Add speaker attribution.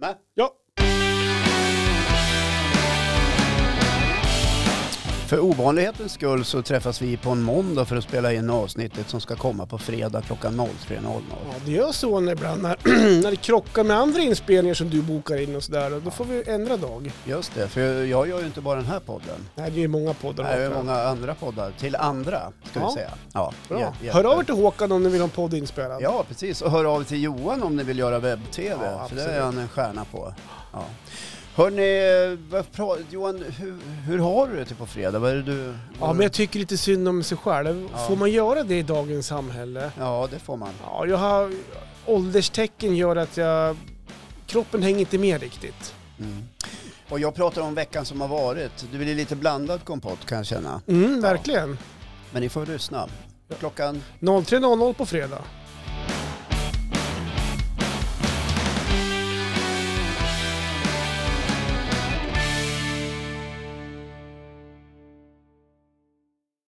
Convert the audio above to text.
Speaker 1: Med?
Speaker 2: Ja.
Speaker 1: För ovanlighetens skull så träffas vi på en måndag för att spela in avsnittet som ska komma på fredag klockan 03.00.
Speaker 2: ja, det gör så ibland när, när det krockar med andra inspelningar som du bokar in och sådär. Då får vi ändra dag.
Speaker 1: Just det, för jag gör ju inte bara den här podden.
Speaker 2: Nej, det är ju många poddar.
Speaker 1: Nej, Det är
Speaker 2: Håkan.
Speaker 1: många andra poddar. Till andra, ska
Speaker 2: Ja.
Speaker 1: vi säga. Ja,
Speaker 2: Bra.
Speaker 1: jä-
Speaker 2: Hör av er
Speaker 1: jätte-
Speaker 2: till Håkan om ni vill ha en podd inspelad.
Speaker 1: Ja, precis. Och hör av er till Johan om ni vill göra webb-tv,
Speaker 2: Ja,
Speaker 1: för det är
Speaker 2: absolut.
Speaker 1: han en stjärna på. Ja. Hörni, vad pra- Johan, hur, hur har du det till på fredag? Vad är det du...
Speaker 2: Ja, men jag tycker lite synd om sig själv.
Speaker 1: Ja.
Speaker 2: Får man göra det i dagens samhälle?
Speaker 1: Ja, det får man.
Speaker 2: Ja, jag har... Ålderstecken gör att jag... Kroppen hänger inte med riktigt.
Speaker 1: Mm. Och jag pratar om veckan som har varit. Det blir lite blandad kompott kan jag känna.
Speaker 2: Mm, verkligen.
Speaker 1: Men ni får lyssna. Klockan
Speaker 2: 03.00 på fredag.